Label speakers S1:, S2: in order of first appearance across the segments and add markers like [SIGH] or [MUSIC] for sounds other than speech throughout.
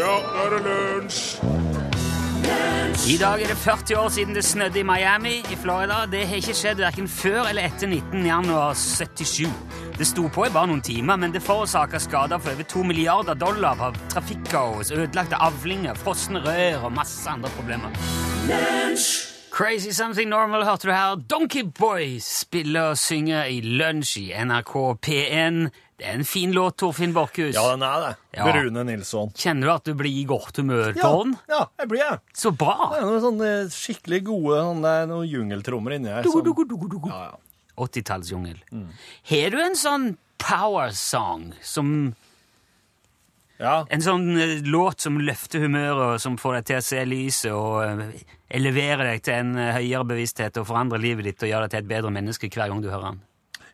S1: Ja, nå er det lunsj!
S2: I dag er det 40 år siden det snødde i Miami i Florida. Det har ikke skjedd hverken før eller etter 19. januar 77. Det sto på i bare noen timer, men det forårsaka skader for over 2 milliarder dollar på trafikkaos, ødelagte avlinger, frosne rør og masse andre problemer. Crazy Something Normal hørte du her. Donkey Boy spiller og synger i Lunsj i NRK P1. Det er en fin låt, Torfinn Borchhus.
S1: Ja, den er det.
S2: Ja. Sånn?
S1: Brune Nilsson.
S2: Kjenner du at du blir i godt humør på
S1: Ja,
S2: den?
S1: ja, jeg blir jeg.
S2: Så
S1: Det
S2: bra!
S1: er noen sånne skikkelig gode sånne, noen jungeltrommer inni her.
S2: Dugu,
S1: Som,
S2: dugu, dugu, dugu.
S1: sånn- ja, Mm. ja.
S2: 80-tallsjungel. Har du en sånn power song, som,
S1: ja,
S2: en sånn eh, låt som løfter humøret, og som får deg til å se lyset, og eh, eleverer deg til en eh, høyere bevissthet og forandrer livet ditt og gjør deg til et bedre menneske hver gang du hører den?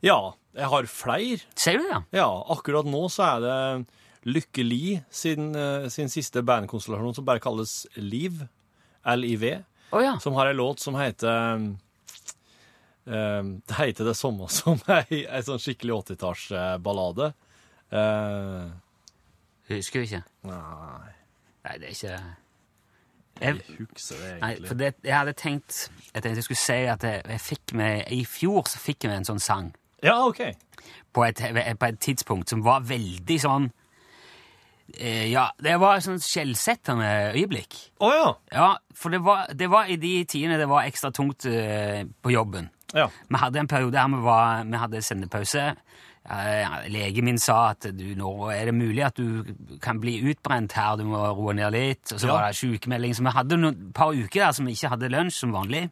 S1: ja, jeg har fleir.
S2: Sier du det?
S1: Ja, akkurat nå så er det Lykke Li sin, eh, sin siste bandkonstellasjon som bare kalles Liv, L-I-V,
S2: Å ja.
S1: som har ei låt som heter eh, Det heter det samme [LAUGHS] som ei, ei sånn skikkelig eh, 80-tallsballade. Uh,
S2: Husker du ikke?
S1: nei,
S2: Nei, det er ikke jeg,
S1: jeg husker det
S2: Nei,
S1: egentlig.
S2: for det, jeg hadde tenkt Jeg tenkte jeg skulle si at jeg, jeg fikk med I fjor så fikk jeg med en sånn sang.
S1: Ja, OK.
S2: på et, på et tidspunkt som var veldig sånn eh, Ja, det var et sånt skjellsettende øyeblikk.
S1: Å
S2: Ja, for det var, det var i de tidene det var ekstra tungt eh, på jobben.
S1: ja. ja.
S2: Vi hadde en periode her vi, var, vi hadde sendepause. Eh, Legen min sa at du, nå er det mulig at du kan bli utbrent her, du må roe ned litt. Og så
S1: Ja.
S2: var det sykemelding. Så vi hadde noen- et par uker der som vi ikke hadde lunsj som vanlig.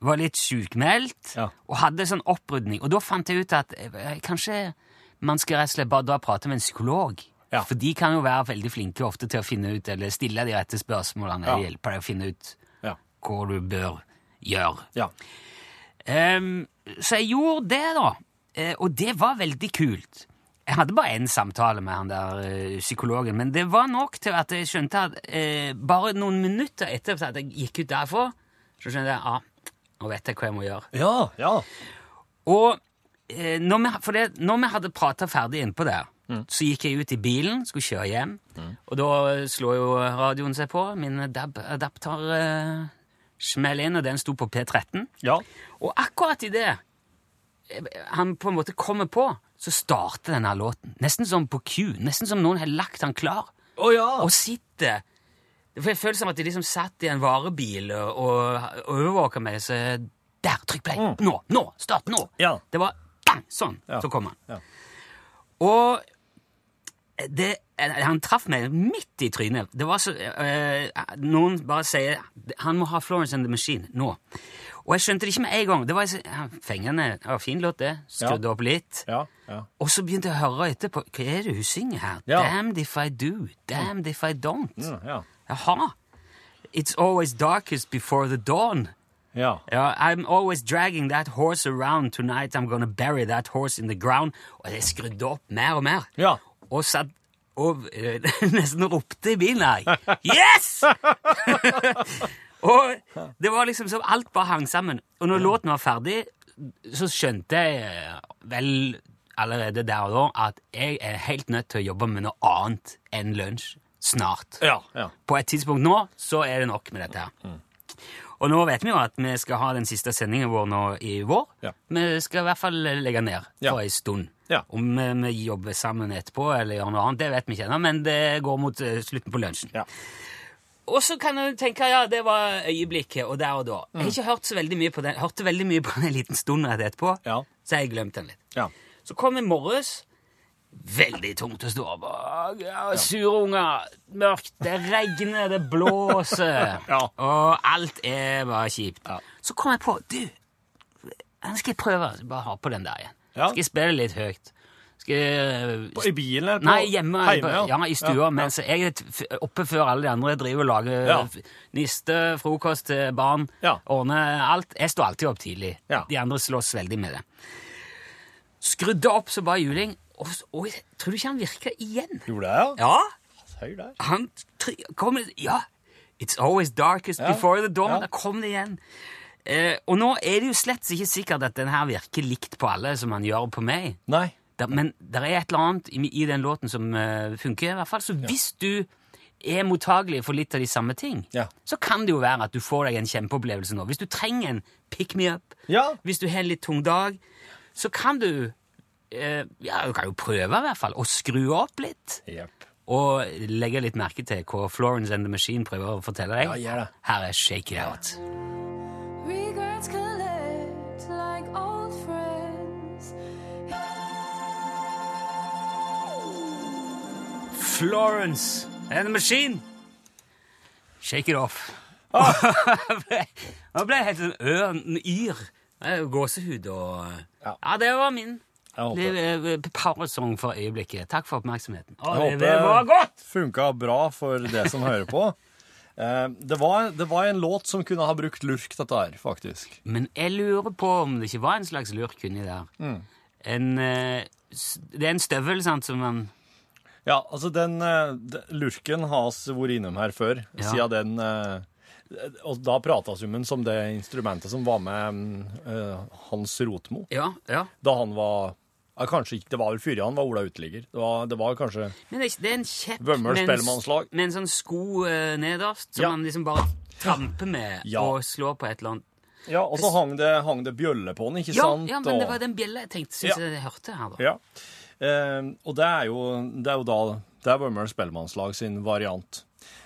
S2: Var litt sykemeldt
S1: Mm. Ja.
S2: og hadde sånn opprydning. Og da fant jeg ut at eh, kanskje man skal rett og slett bare dra og prate med en psykolog.
S1: Ja.
S2: For de kan jo være veldig flinke ofte til å finne ut, eller stille de rette spørsmålene,
S1: Ja.
S2: og hjelpe deg å finne ut
S1: Ja.
S2: hva du bør gjøre.
S1: ja.
S2: Ehm, så jeg gjorde det, da. Eh, og det var veldig kult. Jeg hadde bare én samtale med han der eh, psykologen, men det var nok til at jeg skjønte at eh, bare noen minutter etter at jeg gikk ut derfra, så skjønte jeg ja, nå vet jeg hva jeg må gjøre.
S1: Ja, ja.
S2: Og eh, når, vi, for det, når vi hadde prata ferdig innpå der, så gikk jeg ut i bilen, skulle kjøre hjem, og da slår jo radioen seg på. Min DAB adapter eh, smell inn, og den sto på P13.
S1: Ja.
S2: Og akkurat i det eh, han på en måte kommer på, så starter denne låten. Nesten som på Q. Nesten som noen har lagt han klar
S1: Å ja.
S2: og sitter For jeg føler som at de liksom satt i en varebil og, og overvåka meg. Så der, trykk play! Nå! Nå! Start nå!
S1: Mm. Ja.
S2: Det var bang! Sånn.
S1: Ja.
S2: Så kom han.
S1: Ja.
S2: Og det, han traff meg midt i trynet. Det var så, eh, noen bare sier 'Han må ha Florence and the Machine nå'. Og jeg skjønte det ikke med en gang. Det var så- ja, Fengende. Ja, fin låt, det. Skrudde
S1: Ja.
S2: opp litt.
S1: Ja, ja.
S2: Og så begynte jeg å høre etterpå. Hva er det hun synger her?
S1: Ja.
S2: Damned if I do, damned if I don't.
S1: Mm, ja.
S2: Jaha. It's always darkest before the dawn.
S1: ja.
S2: Ja, I'm always dragging that horse around tonight. I'm gonna bury that horse in the ground. Og jeg skrudde opp mer og mer.
S1: Ja.
S2: Og satt og eh, [LAUGHS] nesten ropte i bilen her. Yes! og det var liksom som alt bare hang sammen. Og når låten var ferdig, så skjønte jeg eh, vel allerede der og da at jeg er helt nødt til å jobbe med noe annet enn lunsj snart
S1: Ja. ja. Mm.
S2: på et tidspunkt nå, så er det nok med dette her. Og nå vet vi jo at vi skal ha den siste sendingen vår nå i vår.
S1: Ja.
S2: Vi skal i hvert fall legge ned
S1: Ja.
S2: for en stund.
S1: Ja.
S2: Om vi, vi jobber sammen etterpå eller gjør noe annet, det vet vi ikke ennå, men det går mot eh, slutten på lunsjen.
S1: Ja.
S2: Og så kan du tenke ja, det var øyeblikket, og der og da. Jeg
S1: Mm.
S2: har ikke hørt så veldig mye på den. Hørte veldig mye på den en liten stund rett etterpå,
S1: Ja.
S2: så har jeg glemt den litt.
S1: Ja.
S2: Så kom i morges. Veldig tungt å stå opp. Å, ja, Sure unger. Mørkt. Det regner, det blåser.
S1: [LAUGHS] Ja.
S2: Og alt er bare kjipt.
S1: Ja.
S2: Så kom jeg på Du, den skal jeg prøve. Bare ha på den der igjen.
S1: Ja.
S2: Skal jeg spille litt høyt? Skal jeg eh,
S1: På- I bilen? eller på-
S2: Nei, hjemme,
S1: Heime,
S2: ja. i stua,
S1: Ja,
S2: mens jeg er t- f- oppe før alle de andre driver og lager
S1: Ja.
S2: f- niste, frokost til barn,
S1: Ja.
S2: ordner alt. Jeg står alltid opp tidlig.
S1: Ja.
S2: De andre slåss veldig med det. Skrudde opp så bare juling, og, s- og jeg- tror du ikke han virka igjen?
S1: Gjorde jeg, ja?
S2: Ja,
S1: Høy der.
S2: han try- kom Ja, It's always darkest
S1: Ja.
S2: before the dawn.
S1: Ja.
S2: Da kom det igjen. Eh, og nå er det jo slett ikke sikkert at den her virker likt på alle som han gjør på meg.
S1: Nei.
S2: Der, men det er et eller annet i, i den låten som eh, funker, i hvert fall. Så hvis du er mottagelig for litt av de samme ting,
S1: Ja.
S2: så kan det jo være at du får deg en kjempeopplevelse nå. Hvis du trenger en pick me up,
S1: Ja.
S2: hvis du har en litt tung dag, så kan du eh, Ja, du kan jo prøve, i hvert fall, å skru opp litt.
S1: Jepp.
S2: Og legge litt merke til hva Florence and the Machine prøver å fortelle deg.
S1: Ja, gjør det.
S2: Her er Shake It Out.
S3: Regrets collect like old friends.
S2: Florence and the Machine. Shake it off.
S1: Ah.
S2: [LAUGHS] Nå ble jeg ble helt sånn ørn, yr. Eh, Gåsehud og
S1: Ja.
S2: Ja, det var min
S1: Jeg håper
S2: lille eh, powersong for øyeblikket. Takk for oppmerksomheten. Å,
S1: Jeg
S2: det
S1: håper-
S2: var godt!
S1: funka bra for det som hører på.
S2: [LAUGHS]
S1: Eh, Det var, det var en låt som kunne ha brukt lurk, dette her, faktisk.
S2: Men jeg lurer på om det ikke var en slags lurk inni der.
S1: Mm.
S2: En, eh, s- det er en støvel, sant, som man
S1: Ja, altså den eh, d- lurken har oss vært innom her før,
S2: Ja.
S1: siden den eh, Og da pratas jo om den som det instrumentet som var med mm, eh, Hans Rotmo
S2: Ja, ja.
S1: da han var ja, Kanskje ikke, det var vel før han var Ola Uteligger. Det var, det var kanskje
S2: Men det er, ikke- det er en kjepp
S1: Vømmøl
S2: med en s-
S1: spellemannslag.
S2: med en sånn sko eh, nederst, som
S1: Ja.
S2: man liksom bare tramper med
S1: Ja.
S2: og slår på et eller annet.
S1: Ja, og så hang det, hang det bjølle på den, ikke
S2: Ja,
S1: sant?
S2: ja, men det
S1: Og-
S2: var den bjella jeg tenkte
S1: Ja.
S2: synes jeg hørte her, da.
S1: Ja. Eh, og det er jo, det er jo da Det er Vømmøl Spellemannslag sin variant.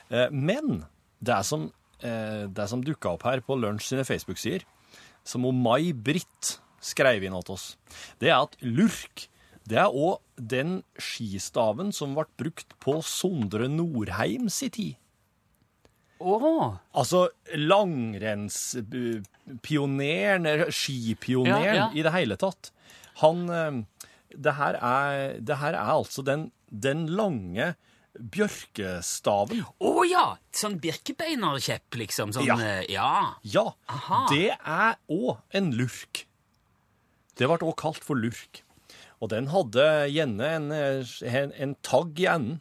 S1: Eh, men det er som, eh, det er som dukka opp her på Lunsj sine Facebook-sider, som hun May-Britt skrev inn til oss, det er at lurk det er òg den skistaven som ble brukt på Sondre Norheim si tid.
S2: Åh,
S1: Altså langrennspioneren, eller skipioneren,
S2: Ja, ja.
S1: i det hele tatt. Han eh, Det her er, det her er altså den, den lange bjørkestaven.
S2: Åh, ja! Sånn birkebeinerkjepp, liksom. Sånn,
S1: Ja.
S2: eh, ja.
S1: Ja,
S2: Aha.
S1: det er òg en lurk. Det ble òg kalt for lurk. Og den hadde gjerne en, eh, en, en tagg i enden.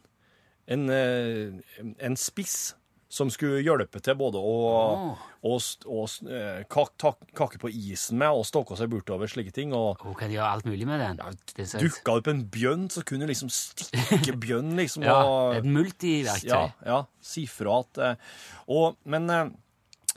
S1: En, eh, en spiss som skulle hjelpe til både å,
S2: Åh.
S1: å, st- å s- eh, kak, tak, kakke på isen med og stokke seg bortover slike ting. Og
S2: Hun kan gjøre alt mulig med den. Det er sant.
S1: dukka opp en bjønn, så kunne du liksom
S2: [LAUGHS]
S1: stikke bjønn, liksom.
S2: Ja,
S1: og,
S2: et multiverktøy.
S1: ja, ja, si fra at eh, og, Men eh,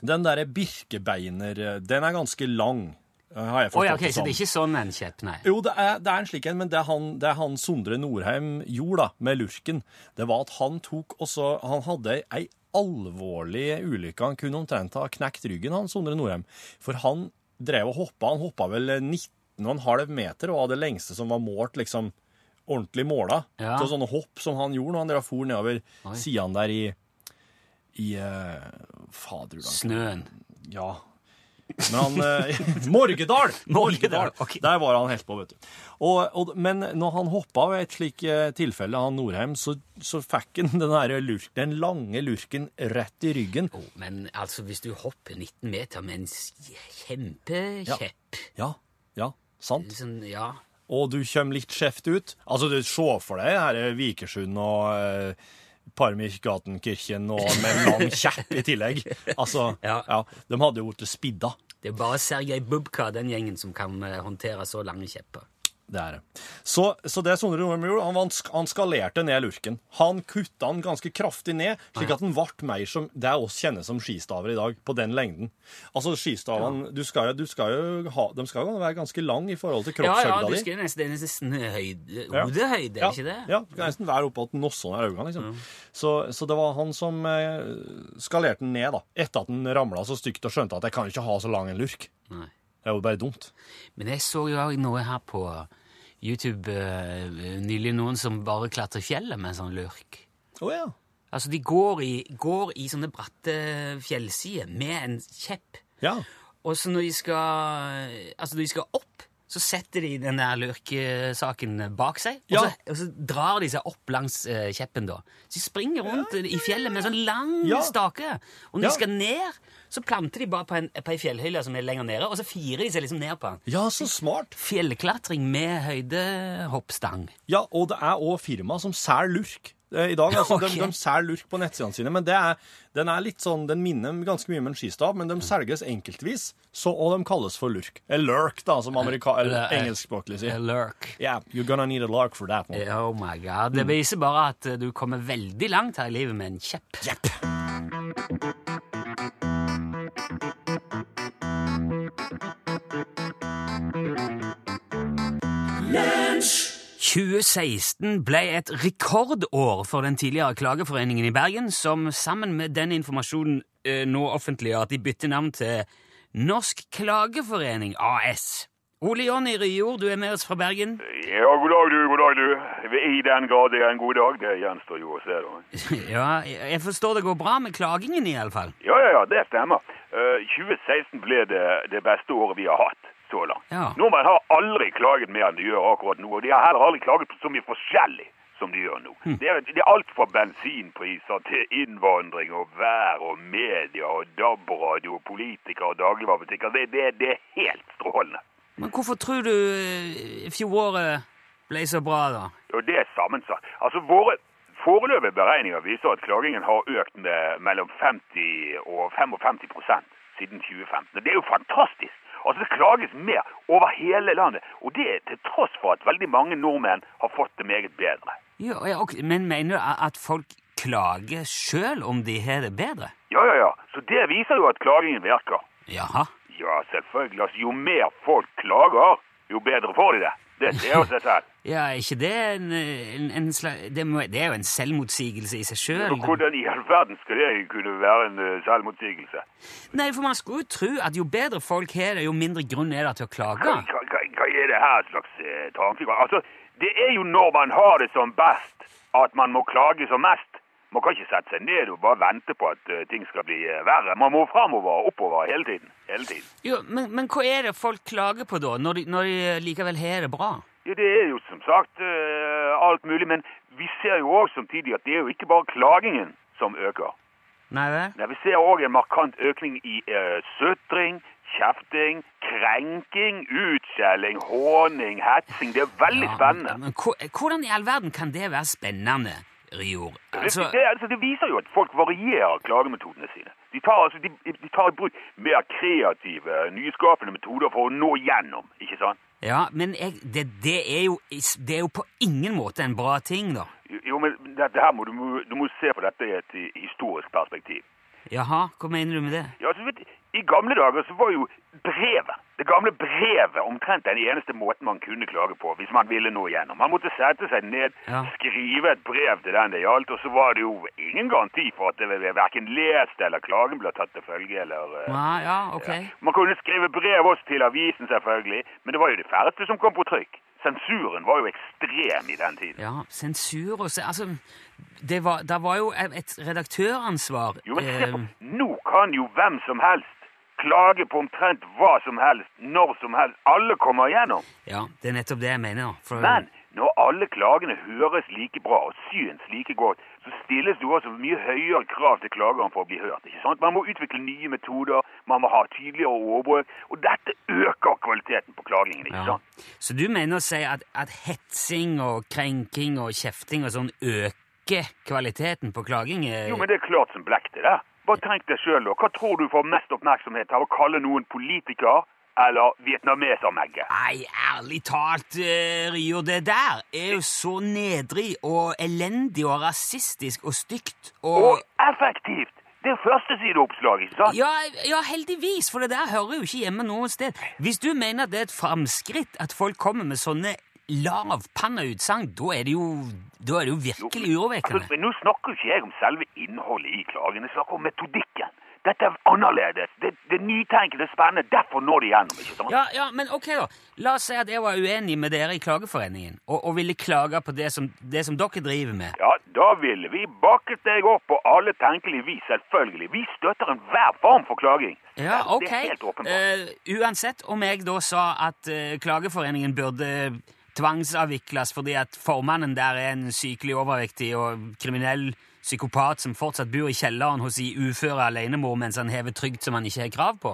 S1: den derre birkebeiner, eh, den er ganske lang, eh, har jeg
S2: Åh,
S1: forstått
S2: ja, ok,
S1: det
S2: så
S1: som.
S2: det er ikke sånn en kjepp, nei.
S1: Jo, det er, det er en slik en, men det er han, det er han Sondre Norheim gjorde da, med lurken, det var at han tok også Han hadde ei alvorlig ulykke. Han kunne omtrent ha knekt ryggen, han Sondre Norheim. For han drev og hoppa. Han hoppa vel 19,5 meter, og var det lengste som var målt, liksom ordentlig måla.
S2: Ja.
S1: Så sånne hopp som han gjorde når han drev og for nedover sidene der i i eh, Fader, hvordan
S2: Snøen.
S1: ja. Men han eh, [LAUGHS] Morgedal! Morgedal.
S2: ok.
S1: Der var han helt på, vet du. Og, og, men når han hoppa ved et slikt eh, tilfelle, han Norheim, så, så fikk han den, her lurk, den lange lurken rett i ryggen.
S2: Åh, men altså, hvis du hopper 19 meter med en s- kjempekjepp,
S1: Ja, ja, sant.
S2: sånn, ja.
S1: Og du kommer litt skjevt ut. Altså, du se for deg her er Vikersund og eh, Parmirgatenkirken og med en lang kjepp i
S2: [LAUGHS]
S1: tillegg. Altså, ja.
S2: Ja.
S1: De hadde jo blitt spidda.
S2: Det er bare Sergej Bubka, den gjengen, som kan eh, håndtere så lange kjepper.
S1: Det er det. Så, så det Sondre Nordheim gjorde, han, vant- han skalerte ned lurken. Han kutta den ganske kraftig ned, slik at den ble mer som det er oss kjenner som skistaver i dag, på den lengden. Altså skistavene du skal, jo- du skal jo ha, De skal jo være ganske lang i forhold til
S2: Ja, ja,
S1: kroppshøyda
S2: du
S1: di.
S2: skal jo nesten, det er nesten høyde,
S1: Ja.
S2: hodehøyde, er ikke det?
S1: Ja, du kan nesten være oppå at nossene er øynene, liksom. Så, så det var han som eh, skalerte den ned, da. Etter at den ramla så stygt og skjønte at jeg kan ikke ha så lang en lurk.
S2: Nei.
S1: Det er jo bare dumt.
S2: Men jeg så jo også noe her på YouTube eh, nylig, noen som bare klatrer fjellet med en sånn lurk.
S1: Å ja.
S2: Altså, de går i, går i sånne bratte fjellsider med en kjepp,
S1: Ja.
S2: og så når de skal, altså når de skal opp, så setter de den der lurkesaken bak seg, og,
S1: Ja.
S2: så, og så drar de seg opp langs eh, kjeppen da. Så de springer rundt i fjellet med en sånn lang
S1: Ja.
S2: stake, og når
S1: Ja.
S2: de skal ned, så planter de bare på en, på en fjellhøyde som er lenger nede, og så firer de seg liksom ned på den.
S1: ja, så smart.
S2: Fjellklatring med høydehoppstang.
S1: Ja, og det er òg firma som selger lurk. eh, i dag. Altså,
S2: Ok.
S1: de, de selger lurk på nettsidene sine, men det er, den er litt sånn, den minner ganske mye om en skistav, men de selges enkeltvis, så, og de kalles for lurk. Eller lurk, da, som amerika- eller
S2: Eller, eh,
S1: engelskspråklig sier.
S2: Lurk.
S1: Yeah, you're gonna need a lark for that one.
S2: Oh my god. Det viser bare at eh, du kommer veldig langt her i livet med en kjepp. Lunsj! 2016 ble et rekordår for den tidligere klageforeningen i Bergen, som sammen med den informasjonen eh, nå offentliggjør at de bytter navn til Norsk Klageforening AS. Ole Jonny Ryjord, du er med oss fra Bergen.
S4: Ja, god dag du, god dag du. I den grad det er en god dag, det gjenstår jo å se da.
S2: [LAUGHS] Ja, jeg forstår det går bra med klagingen i alle fall.
S4: Ja, ja, ja, det stemmer. Eh, 2016 ble det, det beste året vi har hatt så langt.
S2: Ja.
S4: Nordmenn har aldri klaget mer enn de gjør akkurat nå, og de har heller aldri klaget på så mye forskjellig som de gjør nå. Det, er, det er alt fra bensinpriser til innvandring og vær og media og DAB-radio og politikere og dagligvarebutikker. Det, det, det er helt strålende.
S2: Men hvorfor tror du eh, fjoråret ble så bra, da?
S4: Jo, det er sammensatt. Altså, våre foreløpige beregninger viser at klagingen har økt med mellom 50 og 55 prosent siden 2015. Det er jo fantastisk! Altså, det klages mer over hele landet, og det er til tross for at veldig mange nordmenn har fått det meget bedre.
S2: Ja, ja, ok, Men mener du a- at folk klager sjøl om de har det bedre?
S4: Ja, ja, ja. Så det viser jo at klagingen virker.
S2: Jaha.
S4: Ja, selvfølgelig. Altså, jo mer folk klager, jo bedre får de det. Det ser jo seg selv.
S2: Ja, er ikke det en, en, en slags det, må, det er jo en selvmotsigelse i seg sjøl.
S4: Og hvordan i all verden skal det kunne være en eh, selvmotsigelse?
S2: Nei, for man skulle jo tro at jo bedre folk har det, jo mindre grunn er det til å klage.
S4: Hva, hva, hva er det her slags eh, tankegang? Altså, det er jo når man har det som best at man må klage som mest. Man kan ikke sette seg ned og bare vente på at eh, ting skal bli eh, verre. Man må framover og oppover hele tiden. Hele tiden.
S2: Jo, men, men hva er det folk klager på, da, når de, når de likevel har det bra?
S4: Ja, det er jo som sagt eh, alt mulig, men vi ser jo òg samtidig at det er jo ikke bare klagingen som øker.
S2: Nei vel?
S4: Nei, vi ser òg en markant økning i eh, sutring, kjefting, krenking, utskjelling, håning, hetsing. Det er veldig
S2: Ja,
S4: spennende.
S2: Men, men hvor- hvordan i all verden kan det være spennende, Rior?
S4: det, det, altså, det viser jo at folk varierer klagemetodene sine. De tar, altså, de, de tar i bruk mer kreative, nyskapende metoder for å nå gjennom, ikke sant?
S2: Ja, men jeg, det, det, er jo, det er jo på ingen måte en bra ting, da.
S4: Jo, men dette her må du, må- du må se på dette i et i- historisk perspektiv.
S2: Jaha, hva mener du med det?
S4: Ja, altså, vet, du, I gamle dager så var jo brevet, det gamle brevet, omtrent den eneste måten man kunne klage på hvis man ville nå gjennom. Man måtte sette seg ned,
S2: Ja.
S4: skrive et brev til den det gjaldt, og så var det jo ingen garanti for at det ble verken lest eller klagen ble tatt til følge eller eh,
S2: Ja, ja, ok.
S4: Ja. Man kunne skrive brev også til avisen, selvfølgelig, men det var jo det færreste som kom på trykk. Sensuren var jo ekstrem i den tiden.
S2: Ja, sensur og se... Altså, det var, der var jo et redaktøransvar.
S4: Jo, men se på,
S2: eh,
S4: nå kan jo hvem som helst klage på omtrent hva som helst, når som helst. Alle kommer igjennom.
S2: ja, det er nettopp det jeg mener. da, For,
S4: Men når alle klagene høres like bra og syns like godt, så stilles det jo også mye høyere krav til klageren for å bli hørt. ikke sant? Man må utvikle nye metoder, man må ha tydeligere ordbruk, og dette øker kvaliteten på klagingen. ikke
S2: ja.
S4: sant?
S2: Så du mener å si at, at hetsing og krenking og kjefting og sånn øker kvaliteten på klaging? eh?
S4: Jo, men det er klart som blekk det der. Bare tenk deg sjøl, da. Hva tror du får mest oppmerksomhet av å kalle noen politiker eller vietnamesermegge?
S2: Nei, ærlig talt, eh, Rio, det der er jo så nedrig og elendig og rasistisk og stygt og
S4: Og effektivt! Det er førstesideoppslag, ikke sant?
S2: ja, ja, heldigvis, for det der hører jo ikke hjemme noe sted. Hvis du mener at det er et framskritt at folk kommer med sånne lavpanna utsagn, da er det jo, da er det jo virkelig
S4: Altså,
S2: urovekkende.
S4: men nå snakker jo ikke jeg om selve innholdet i klagen, jeg snakker om metodikken. Dette er annerledes. Det, det er nytenkende, spennende. Derfor når de gjennom, ikke sant?
S2: Ja, ja, men ok, da. La oss si at jeg var uenig med dere i Klageforeningen og, og ville klage på det som, det som dere driver med.
S4: Ja, da ville vi bakket deg opp på alle tenkelige vis, selvfølgelig. Vi støtter enhver form for klaging.
S2: Ja,
S4: Det
S2: ok.
S4: er helt åpenbart.
S2: Eh, uansett om jeg da sa at eh, Klageforeningen burde tvangsavvikles fordi at formannen der er en sykelig overvektig og kriminell psykopat som fortsatt bor i kjelleren hos ei uføre alenemor mens han hever trygd som han ikke har krav på.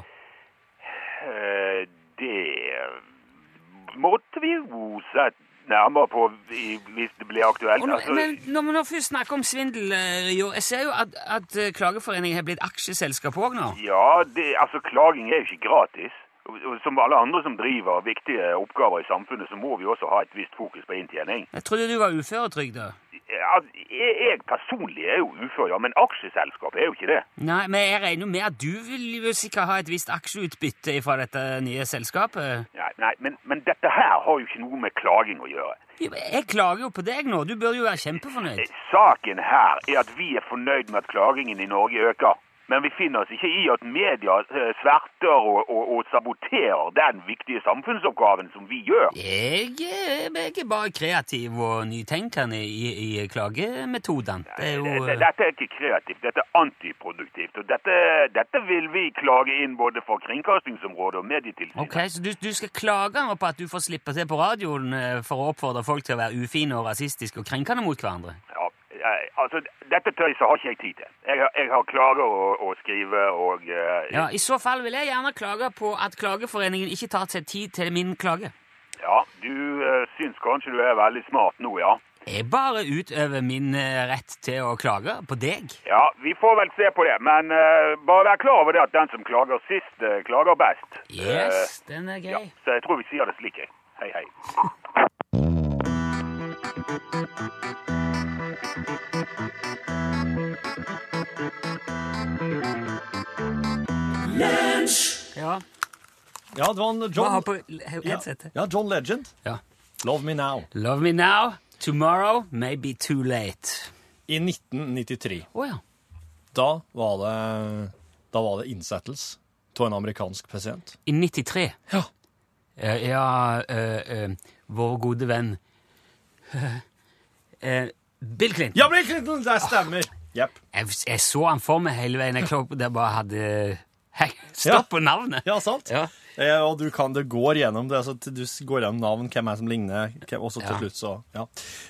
S4: Eh, det måtte vi jo sett nærmere på i, hvis det blir aktuelt.
S2: Og nå,
S4: Altså,
S2: men når vi nå først snakker om svindel, eh, jo, jeg ser jo at, at eh, Klageforeningen har blitt aksjeselskap òg nå.
S4: ja, det, altså klaging er jo ikke gratis. Og, og som alle andre som driver viktige oppgaver i samfunnet, så må vi også ha et visst fokus på inntjening.
S2: Jeg trodde du var uføretrygda.
S4: Altså, jeg, jeg personlig er jo ufør, ja, men aksjeselskap er jo ikke det.
S2: Nei, men jeg regner jo med at du vil jo sikkert ha et visst aksjeutbytte fra dette nye selskapet.
S4: Nei, nei men, men dette her har jo ikke noe med klaging å gjøre.
S2: Jo, men Jeg klager jo på deg nå. Du bør jo være kjempefornøyd.
S4: Saken her er at vi er fornøyd med at klagingen i Norge øker. Men vi finner oss ikke i at media eh, sverter og, og, og saboterer den viktige samfunnsoppgaven som vi gjør.
S2: Jeg, eh, jeg er bare kreativ og nytenkende i, i klagemetodene. Det er jo
S4: Dette,
S2: eh,
S4: dette er ikke kreativt, dette er antiproduktivt. Og dette, dette vil vi klage inn både for Kringkastingsområdet og Medietilsynet.
S2: Ok, så du, du skal klage nå på at du får slippe til på radioen eh, for å oppfordre folk til å være ufine og rasistiske og krenkende mot hverandre?
S4: Ja, eh, altså, dette tøyset har ikke jeg tid til. Jeg, har- jeg har klager å, å skrive og eh,
S2: Ja, I så fall vil jeg gjerne klage på at Klageforeningen ikke tar seg tid til min klage.
S4: ja, du eh, syns kanskje du er veldig smart nå, ja.
S2: Jeg bare utøver min eh, rett til å klage på deg.
S4: Ja, vi får vel se på det, men eh, bare vær klar over det at den som klager sist, eh, klager best.
S2: Yes, den er
S4: Eh, ja,
S2: gøy.
S4: så jeg tror vi sier det slik, jeg. Hei, hei.
S2: Ja,
S1: Ja, det var en
S2: Bare ha
S1: John,
S2: på headsetet.
S1: ja, John Legend.
S2: Ja.
S1: Love Me Now.
S2: Love me now, tomorrow may be too late.
S1: I 1993.
S2: Å ja.
S1: Da var det, da var det innsettelse av en amerikansk president.
S2: I 93.
S1: Ja.
S2: Eh, ja, eh, eh, vår gode venn eh, Bill Clinton.
S1: Ja, Bill Clinton! Det stemmer. Jepp.
S2: Jeg, jeg så han for meg hele veien. Jeg klok, det bare hadde Hei, stopp på navnet!
S1: Ja, sant?
S2: Ja.
S1: Eh, og du kan, det går gjennom det, altså, du s- går gjennom navn, hvem er det som ligner, hvem, og så til
S2: Ja.
S1: slutt så, ja.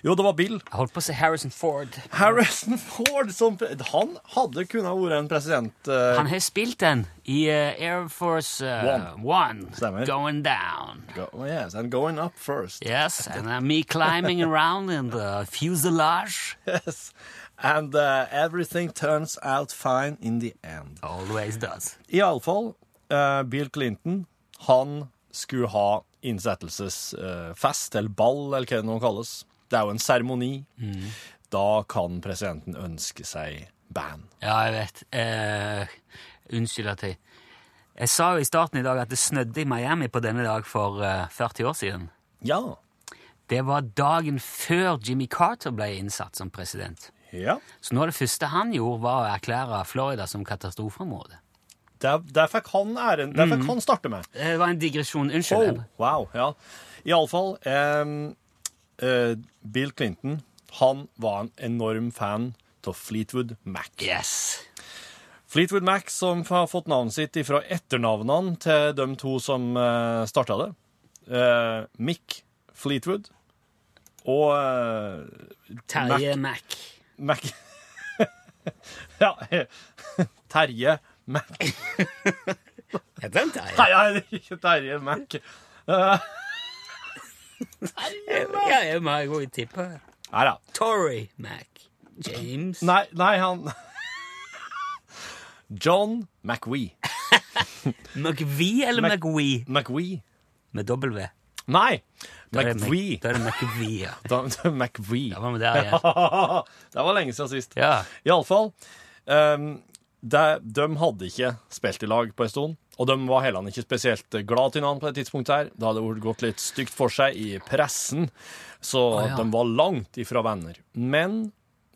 S1: Jo, det var Bill.
S2: Jeg holdt på å si Harrison Ford.
S1: Harrison [LAUGHS] Ford, som, han hadde kunnet være en president. eh,
S2: Han har spilt den i eh, Air Force eh,
S1: One.
S2: One.
S1: Stemmer.
S2: Going down.
S1: go, oh, yes, and going up first.
S2: Yes, and uh, me climbing around in the fuselage.
S1: [LAUGHS] Yes. And eh, everything turns out fine in the end.
S2: Always does.
S1: Iallfall, uh, Bill Clinton, han skulle ha innsettelsesfest, eller ball, eller hva det nå kalles. Det er jo en seremoni. Da kan presidenten ønske seg band.
S2: Ja, jeg vet. Eh, unnskyld at jeg Jeg sa jo i starten i dag at det snødde i Miami på denne dag for eh, 40 år siden.
S1: Ja.
S2: Det var dagen før Jimmy Carter ble innsatt som president.
S1: ja.
S2: Så nå det første han gjorde, var å erklære Florida som katastrofeområde.
S1: Der, der fikk han æren. Der fikk han starte med.
S2: Eh, Det var en digresjon. Unnskyld.
S1: Oh,
S2: Ebbe.
S1: wow, ja. Iallfall, um, uh, Bill Clinton, han var en enorm fan av Fleetwood Mac.
S2: Yes.
S1: Fleetwood Mac, som har fått navnet sitt ifra etternavnene til de to som uh, starta det. Eh, Mick Fleetwood og eh,
S2: Terje Mac.
S1: Mac [LAUGHS] Ja, [LAUGHS] eh, Terje Mac
S2: Heter han Terje?
S1: Nei, nei, det er ikke Terje Mac.
S2: Ja, jeg må gå i tippa.
S1: Nei da.
S2: Tory Mac. James.
S1: Nei, nei, han [LAUGHS] John McWee.
S2: McVie eller
S1: Mac-
S2: McWee?
S1: McWee?
S2: Med W.
S1: Nei,
S2: Da er det Mac-
S1: McVie.
S2: Da er det McVie, ja.
S1: Da- [LAUGHS] da- McVie.
S2: Ja, hva med det, ja.
S1: [LAUGHS] det var lenge siden sist.
S2: Ja.
S1: Iallfall. Um, de, de hadde ikke spilt i lag på en stund, og de var heller ikke spesielt glad til hverandre på det tidspunktet her. Det hadde vært gått litt stygt for seg i pressen, så
S2: ja.
S1: de var langt ifra venner. Men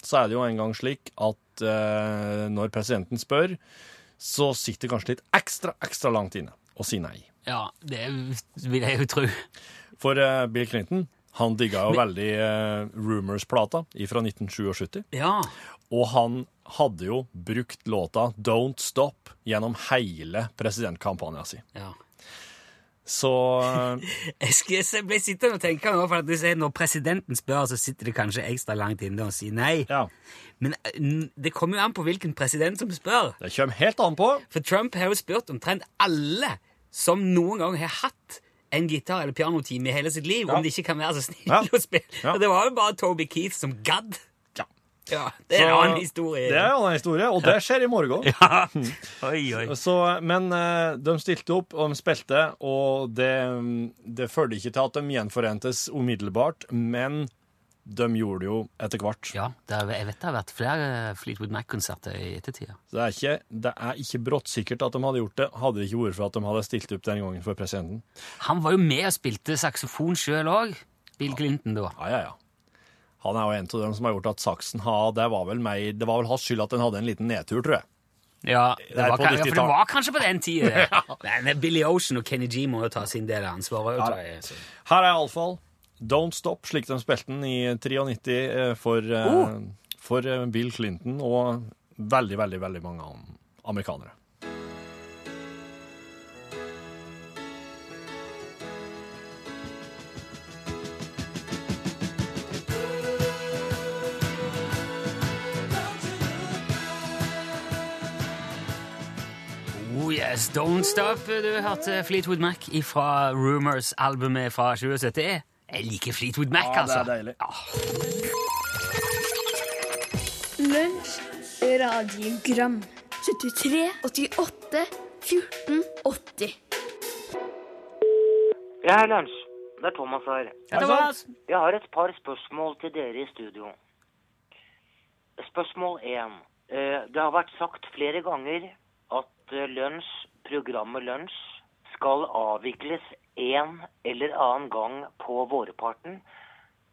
S1: så er det jo en gang slik at eh, når presidenten spør, så sitter det kanskje litt ekstra, ekstra langt inne og sier nei.
S2: ja, det vil jeg jo tro.
S1: For eh, Bill Clinton, han digga jo veldig eh, Rumors-plata fra 1977.
S2: Ja.
S1: Og han hadde jo brukt låta Don't Stop gjennom hele presidentkampanjen sin.
S2: ja.
S1: Så
S2: Jeg, skal, jeg ble sittende og tenke nå, for at hvis jeg, når presidenten spør, så sitter det kanskje ekstra langt inne og sier nei.
S1: ja,
S2: Men eh, n- det kommer jo an på hvilken president som spør.
S1: det kommer helt an på.
S2: For Trump har jo spurt omtrent alle som noen gang har hatt en gitar- eller pianotime i hele sitt liv
S1: Ja.
S2: om de ikke kan være så snille
S1: Ja.
S2: å spille.
S1: Ja.
S2: Og det var jo bare Toby Keith som gadd.
S1: Ja.
S2: Ja, det er en
S1: Så-
S2: annen historie.
S1: Det er en annen historie, og det skjer i morgen.
S2: Oi, oi.
S1: Så, men eh, de stilte opp, og de spilte, og det, det førte ikke til at de gjenforentes umiddelbart, men de gjorde det jo etter hvert.
S2: Ja, det er, jeg vet det har vært flere Fleetwood Mac-konserter i ettertida.
S1: Så det er ikke, det er ikke bråttsikkert at de hadde gjort det, hadde det ikke vært for at de hadde stilt opp den gangen for presidenten.
S2: Han var jo med og spilte saksofon sjøl òg. Bill Clinton, da.
S1: Ja, ja, ja. Han er jo en av dem som har gjort at saksen har Det var vel, meg, det var vel hans skyld at den hadde en liten nedtur, tror jeg.
S2: Ja, det
S1: er
S2: var,
S1: på
S2: kan- ja, for det
S1: 90-tallet.
S2: var kanskje på den
S1: [LAUGHS]
S2: tida. Men Billy Ocean og Kenny G må jo ta sin del av ansvaret.
S1: Ja,
S2: tror jeg.
S1: Her er iallfall Don't Stop, slik de spilte den i 93 eh, for, eh,
S2: Oh.
S1: for eh, Bill Clinton og veldig, veldig, veldig mange an- amerikanere.
S2: Oh yes, Don't Stop. Du hørte Fleetwood Mac fra Rumors-albumet fra 2070. Jeg liker Fleetwood Mac,
S1: Ja, det
S2: altså.
S1: er deilig.
S5: Lunsj, radiogram 73, 88, 14, 80
S6: Ja, hei, Lunsj. Det er Thomas her.
S2: Ja, Thomas.
S6: Jeg har et par spørsmål til dere i studio. Spørsmål 1. Det har vært sagt flere ganger at eh, lunsj, programmet Lunsj skal avvikles en eller annen gang på vårparten.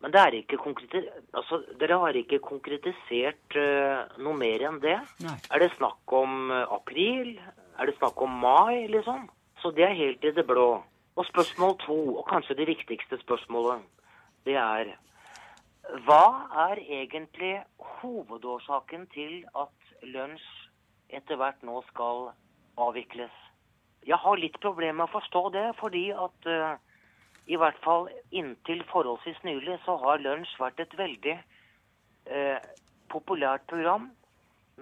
S6: Men det er ikke konkreti- altså, dere har ikke konkretisert eh, noe mer enn det.
S2: Nei.
S6: Er det snakk om eh, april? Er det snakk om mai, liksom? Så det er helt i det blå. Og spørsmål to, og kanskje det viktigste spørsmålet, det er Hva er egentlig hovedårsaken til at lunsj etter hvert nå skal avvikles? Jeg har litt problemer med å forstå det, fordi at eh, i hvert fall inntil forholdsvis nylig så har Lunsj vært et veldig eh, populært program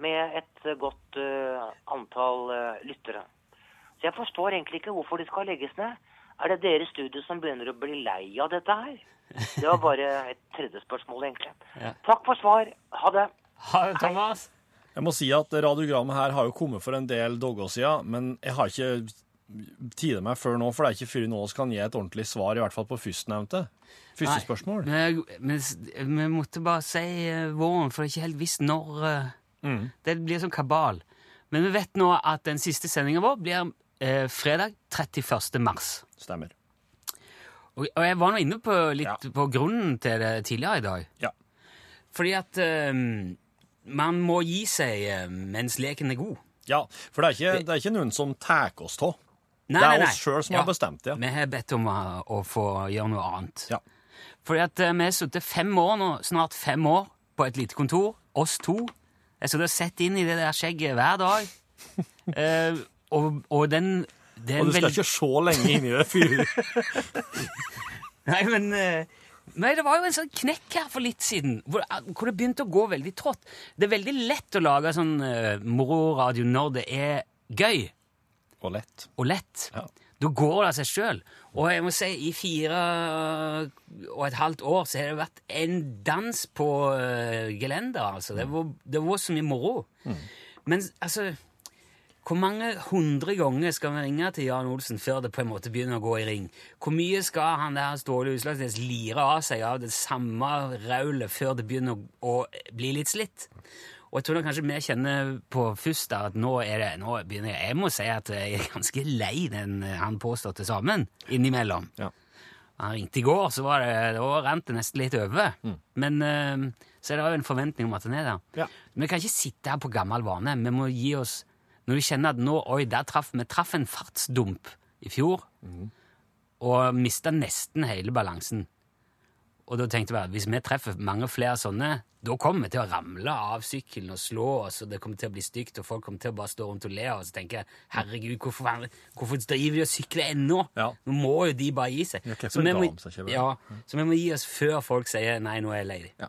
S6: med et eh, godt eh, antall eh, lyttere. Så jeg forstår egentlig ikke hvorfor det skal legges ned. Er det dere i studio som begynner å bli lei av dette her? Det var bare et tredje spørsmål, egentlig.
S2: Ja.
S6: Takk for svar. Ha det.
S2: Ha det, Thomas.
S1: Jeg må si at radiogrammet her har jo kommet for en del dager siden, men jeg har ikke tida meg før nå, for det er ikke før nå vi kan gi et ordentlig svar, i hvert fall på førstnevnte. Første
S2: Nei,
S1: spørsmål.
S2: men- men s- Vi måtte bare si eh, våren, for det er ikke helt visst når eh,
S1: Mm.
S2: Det blir som kabal. Men vi vet nå at den siste sendinga vår blir eh, fredag 31. mars.
S1: Stemmer.
S2: Og, og jeg var nå inne på litt
S1: Ja.
S2: på grunnen til det tidligere i dag.
S1: Ja.
S2: Fordi at eh, man må gi seg eh, mens leken er god.
S1: Ja, for det er ikke, det er ikke noen som tar oss av.
S2: Nei,
S1: Det
S2: nei,
S1: er
S2: nei.
S1: oss sjøl som
S2: Ja.
S1: har bestemt det.
S2: Vi har bedt om eh, å få gjøre noe annet.
S1: Ja.
S2: Fordi at eh, vi har sittet fem år nå, snart fem år, på et lite kontor, oss to. Jeg sitter og setter inn i det der skjegget hver
S1: [LAUGHS]
S2: dag. Eh, og, og den det er
S1: Og
S2: en
S1: du skal
S2: veldig-
S1: ikke se lenge inn i det [LAUGHS] fyret.
S2: Nei, men eh, Nei, det var jo en sånn knekk her for litt siden, hvor, eh, hvor det begynte å gå veldig trått. Det er veldig lett å lage sånn eh, mororadio når det er gøy
S1: Og lett.
S2: og lett.
S1: Ja.
S2: Da går det av seg sjøl. Og jeg må si, i fire og et halvt år så har det vært en dans på eh, gelender, altså. Det var, det var så mye moro. Men altså Hvor mange hundre ganger skal vi ringe til Jan Olsen før det på en måte begynner å gå i ring? Hvor mye skal han der Ståle Utslagsnes lire av seg av det samme raulet før det begynner å, å bli litt slitt? Og jeg tror da kanskje vi kjenner på først da, at nå er det, nå begynner jeg, jeg må si at jeg er ganske lei den eh, han påståtte sammen, innimellom.
S1: Ja.
S2: Han ringte i går, så var det, da rant det nesten litt over. Men eh, så er det jo en forventning om at den er der.
S1: Mm. Ja.
S2: Vi kan ikke sitte her på gammel vane. Vi må gi oss Når vi kjenner at nå, oi, der traff vi traff en fartsdump i fjor, og mista nesten hele balansen. Og da tenkte jeg at hvis vi treffer mange flere sånne, da kommer vi til å ramle av sykkelen og slå oss, og det kommer til å bli stygt, og folk kommer til å bare stå rundt og le av oss og tenke herregud, hvorfor, faen- hvorfor driver de og sykler ennå?
S1: Ja.
S2: Nå må jo de bare gi seg.
S1: Ja, hvorfor
S2: vi
S1: ga
S2: må,
S1: de seg ikke, vel?
S2: ja, så vi må gi oss før folk sier nei, nå er jeg lei.
S1: Ja.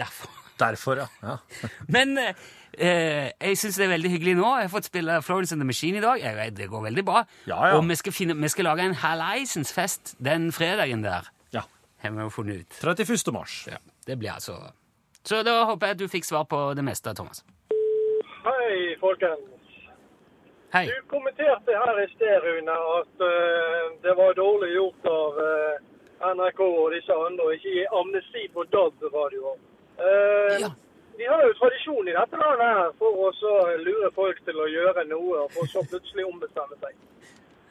S2: Derfor.
S1: Derfor, ja. ja.
S2: Men eh, eh, jeg syns det er veldig hyggelig nå. Jeg har fått spille Florence and the Machine i dag. Jeg, vet, det går veldig bra.
S1: Ja, ja.
S2: Og vi skal, finne, vi skal lage en halleisens fest den fredagen der,
S1: ja.
S2: har vi jo funnet ut.
S1: 31. mars.
S2: Ja, det blir altså Så da håper jeg at du fikk svar på det meste, Thomas.
S7: Hei, folkens.
S2: Hei.
S7: Du kommenterte her i sted, Rune, at eh, det var dårlig gjort av eh, NRK og disse andre å ikke gi amnesti på DAB-radioer. Eh,
S2: Ja.
S7: Vi har jo tradisjon i dette landet her for å så lure folk til å gjøre noe, og for så plutselig ombestemme seg.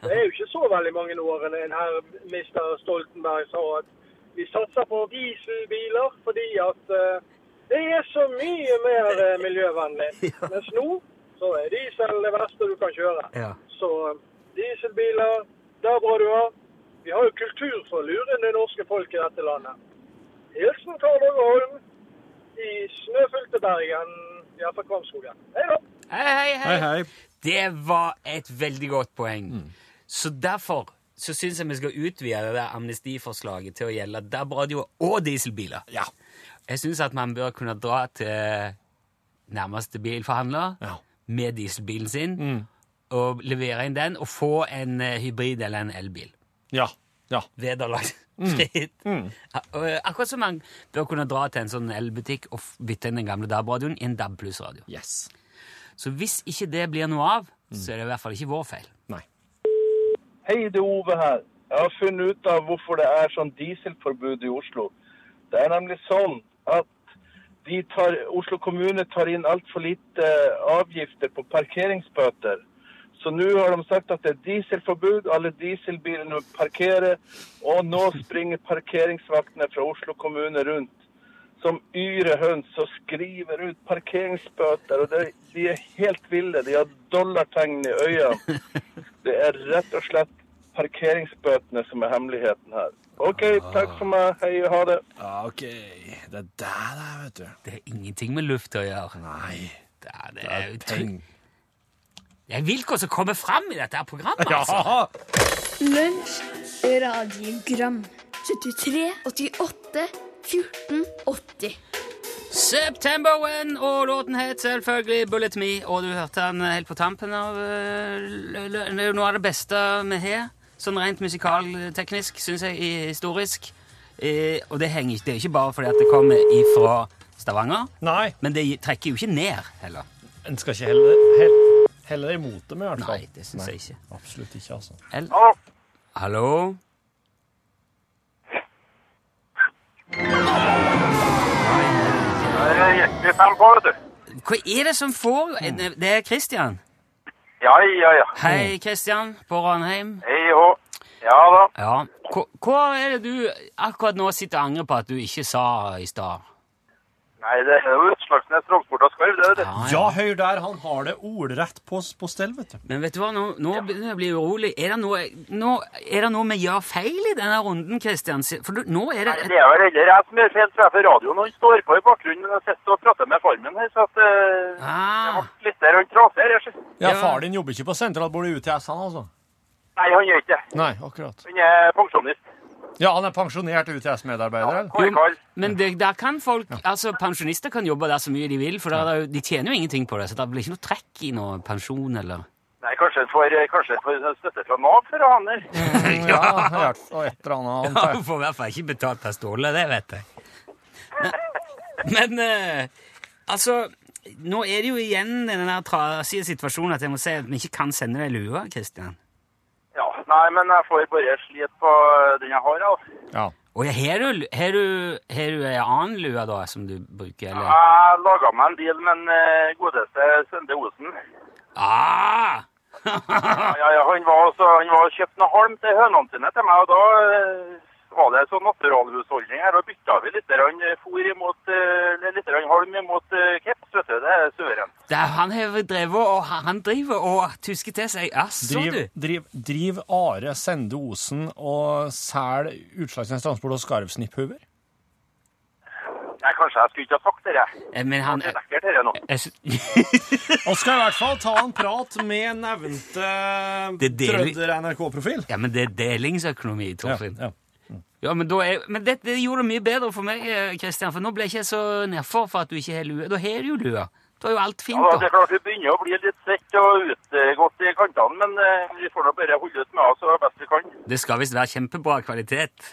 S7: Det er jo ikke så veldig mange årene en herr mister Stoltenberg sa at vi satser på dieselbiler fordi at eh, det er så mye mer eh, miljøvennlig. Mens nå så er diesel det verste du kan kjøre.
S2: Ja.
S7: Så eh, dieselbiler, der bra du har. Vi har jo kultur for å lure det norske folk i dette landet. Hilsen Karl Åge Holm i snøfylte Bergen, ja, fra Kvamskogen. Hei da!
S2: Hei, hei, hei.
S1: Hei, Mm. hei.
S2: Det var et veldig godt poeng. Så derfor så syns jeg vi skal utvide det der amnestiforslaget til å gjelde DAB-radioer og dieselbiler.
S1: Ja.
S2: Jeg syns at man bør kunne dra til nærmeste bilforhandler
S1: Ja. Mm.
S2: med dieselbilen sin og levere inn den og få en eh, hybrid eller en elbil.
S1: Ja. ja. Mm.
S2: [LAUGHS] Vederlagsfritt. Ja, og, eh, Akkurat som man bør kunne dra til en sånn elbutikk og f- bytte inn den gamle DAB-radioen i en DAB pluss-radio.
S1: Yes.
S2: Så hvis ikke det blir noe av,
S1: Mm.
S2: så er det i hvert fall ikke vår feil.
S1: Nei.
S8: Hei, det er Ove her. Jeg har funnet ut av hvorfor det er sånn dieselforbud i Oslo. Det er nemlig sånn at de tar, Oslo kommune tar inn altfor lite eh, avgifter på parkeringsbøter. Så nå har de sagt at det er dieselforbud, alle dieselbilene parkerer, og nå springer parkeringsvaktene fra Oslo kommune rundt som yrehøns og skriver ut parkeringsbøter, og det, de er helt ville. De har dollartegn i øynene. Det er rett og slett parkeringsbøtene som er hemmeligheten her. OK, takk for meg. Hei, ha det.
S1: Ja, OK. Det er der det er, vet du.
S2: Det er ingenting med luft å gjøre.
S1: Nei.
S2: Det er, det
S1: Det
S2: er
S1: er
S2: utro-
S1: peng.
S2: Det er vilkår som kommer fram i dette her programmet,
S1: Ja!
S2: altså.
S5: Lunsj, radiogram 73, 88, 14, 80
S2: September When, og låten het selvfølgelig Bullet Me, og du hørte den helt på tampen av eh, lø- lø- lø- noe av det beste vi har, sånn rent musikalteknisk, synes jeg, i- historisk. Eh, og det henger ikke, det er ikke bare fordi at det kommer ifra Stavanger,
S1: Nei.
S2: men det trekker jo ikke ned, heller.
S1: En skal ikke helle, helle, helle deg imot dem, i hvert fall.
S2: Nei, det synes jeg ikke.
S1: Absolutt ikke, altså.
S2: Eller?
S4: Hallo?
S2: Hallo?
S4: Det er hjertelig samtale, vet du.
S2: Hva er det som får Det er Kristian.
S4: Ja, ja, ja.
S2: Hei, Kristian på Ranheim.
S4: Hei hå. Ja da.
S2: Ja. Hva, hva er det du akkurat nå sitter og angrer på at du ikke sa i stad?
S4: Nei, det er jo Utslagsnes Rogsport av Skarv, det er det.
S1: Ja, hør der, han har det ordrett på, på stell, vet du.
S2: Men vet du hva, nå, nå begynner jeg å bli urolig. Er det noe, nå, er det noe vi gjør feil i denne runden, Kristian? For du, nå er det
S4: Nei, det er vel heller jeg som gjør feil, for jeg får radioen og han står på i bakgrunnen. men Jeg sitter og prater med farmen her, så at eh,
S2: ah,
S4: jeg ble litt der han traser. jeg ser.
S1: Ja,
S2: Ja.
S1: far din jobber ikke på sentralbordet UTS, han altså?
S4: Nei, han gjør ikke det.
S1: Nei, akkurat.
S4: Han er pensjonist.
S1: Ja, han er pensjonert UTS-medarbeider, eller?
S4: Kåre Karl.
S2: Men det, der kan folk, altså Pensjonister kan jobbe der så mye de vil, for der, er jo- de tjener jo ingenting på det. Så det blir ikke noe trekk i noe pensjon eller
S4: Nei, kanskje han får, kanskje han får støtte fra Nav for å ha han her.
S1: Ja, i hvert fall, og et eller annet. antar jeg.
S2: får i hvert fall ikke betalt per ståle, det vet jeg. Men, men eh, altså Nå er det jo igjen den der trasige situasjonen at jeg må si at vi ikke kan sende deg lua, Kristian.
S4: Ja, nei, men jeg får bare slit på den jeg har, altså.
S1: Ja.
S2: Og ja, har du, har du, har du ei annen lue da som du bruker, eller?
S4: Jeg laget meg en deal med den eh, godeste Sende Osen.
S2: Ah!
S4: Ja, ja, ja, han var også, han var og kjøpte noe halm til hønene sine til meg, og da eh, var det sånn naturalhusholdning her, og bytta vi litt grann fôr imot, eh, litt grann halm imot eh, keps, vet du, det er suveren.
S2: Det er, han har drevet og han driver og tusker til seg. Asså,
S1: Driv,
S2: du!
S1: driv, driv Are Sende Osen og sel Utslagsnes Transport og Skarvsnipphuber?
S4: Nei, kanskje jeg skulle ikke ha sagt det, jeg.
S2: Eh, Men han
S4: Det er lekkert dette nå.
S2: jeg sy- [LAUGHS]
S1: Og skal i hvert fall ta en prat med nevnte
S2: Det deler vi.
S1: trønder-NRK-profil.
S2: Ja, men det er delingsøkonomi, Torfinn.
S1: ja.
S2: Ja, men, da er, men det, det gjorde det mye bedre for meg, eh, Kristian, for nå ble jeg ikke så nedfor for at du ikke har lue. Da har du jo lue. Da er jo alt fint,
S9: Ja, det
S2: da.
S9: er klart Vi begynner å bli litt svett og utgått i kantene, men eh, vi får nå bare holde ut med oss så best vi kan.
S2: Det skal visst være kjempebra kvalitet. [LAUGHS]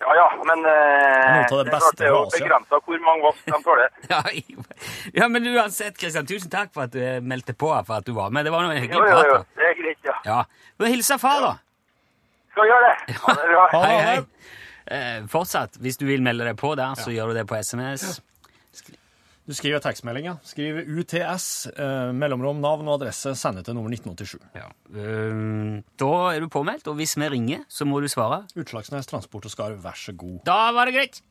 S9: Ja, ja, men eh,
S1: Noe av det
S9: er klart
S1: beste
S9: det er jo
S1: raset.
S9: begrensa hvor mange vask de
S10: [LAUGHS]
S9: tåler.
S2: Ja, i- ja, men uansett, Kristian, tusen takk for at du eh, meldte på, for at du var med. Det var nå en
S9: Jo,
S2: hyggelig
S9: jo, jo,
S2: prat, da.
S9: det er greit, ja.
S2: Ja. Men hilsa far, da.
S9: Skal vi gjøre det? Ha det bra.
S1: Ha
S2: Hei,
S1: det.
S2: hei. Eh, fortsatt, hvis du vil melde deg på der, så gjør du det på SMS.
S1: Du skriver tekstmelding, ja. Skriv UTS, eh, mellomrom, navn og adresse, sende til nummer 1987.
S2: Ja. Eh, da er du påmeldt, og hvis vi ringer, så må du svare.
S1: Utslagsnes Transport og Skarv, vær så god.
S2: Da var det greit!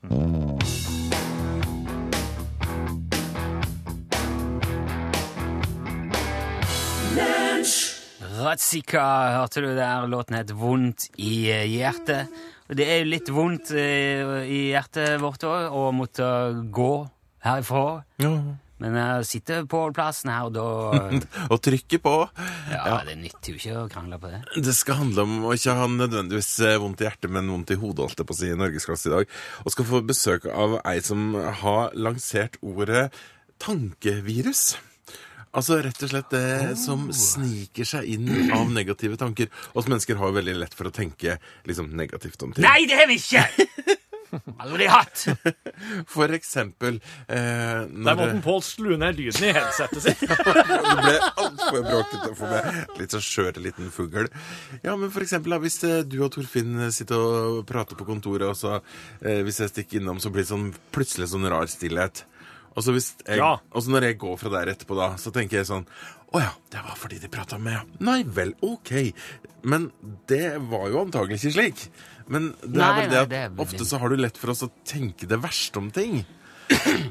S2: Ratzika, hørte du der? Låten het Vondt i eh, hjertet. Og det er jo litt vondt eh, i hjertet vårt òg å måtte gå herifra. Men jeg sitter på plassen her, og da
S10: [LAUGHS] Å trykke på.
S2: Ja, det nytter jo ikke å krangle på det.
S10: Det skal handle om å ikke ha nødvendigvis eh, vondt i hjertet, men vondt i hodet, holdt jeg på å si, i norgesklasse i dag. Og skal få besøk av ei som har lansert ordet tankevirus. Altså rett og slett det som
S9: Oh.
S10: sniker seg inn av negative tanker. Oss mennesker har jo veldig lett for å tenke liksom negativt om ting.
S2: Nei, det har vi [LAUGHS] ikke! Aldri hatt!
S10: For eksempel eh,
S1: Der
S10: når
S1: måtte Pål slu ned lyden i headsetet sitt.
S10: Det ble altfor bråkete for meg. Litt så skjør liten fugl. Ja, men for eksempel, da, hvis eh, du og Torfinn sitter og prater på kontoret, og så eh, hvis jeg stikker innom, så blir det sånn, plutselig sånn rar stillhet. Og så, hvis jeg,
S1: Ja.
S10: og så når jeg går fra der etterpå, da, så tenker jeg sånn Å ja, det var fordi de prata med ja. Nei vel, OK. Men det var jo antagelig ikke slik. Men det er
S2: Nei,
S10: vel det
S2: nei,
S10: at
S2: det er vel-
S10: ofte så har du lett for oss å tenke det verste om
S2: [CLEARS THROAT]
S10: ting.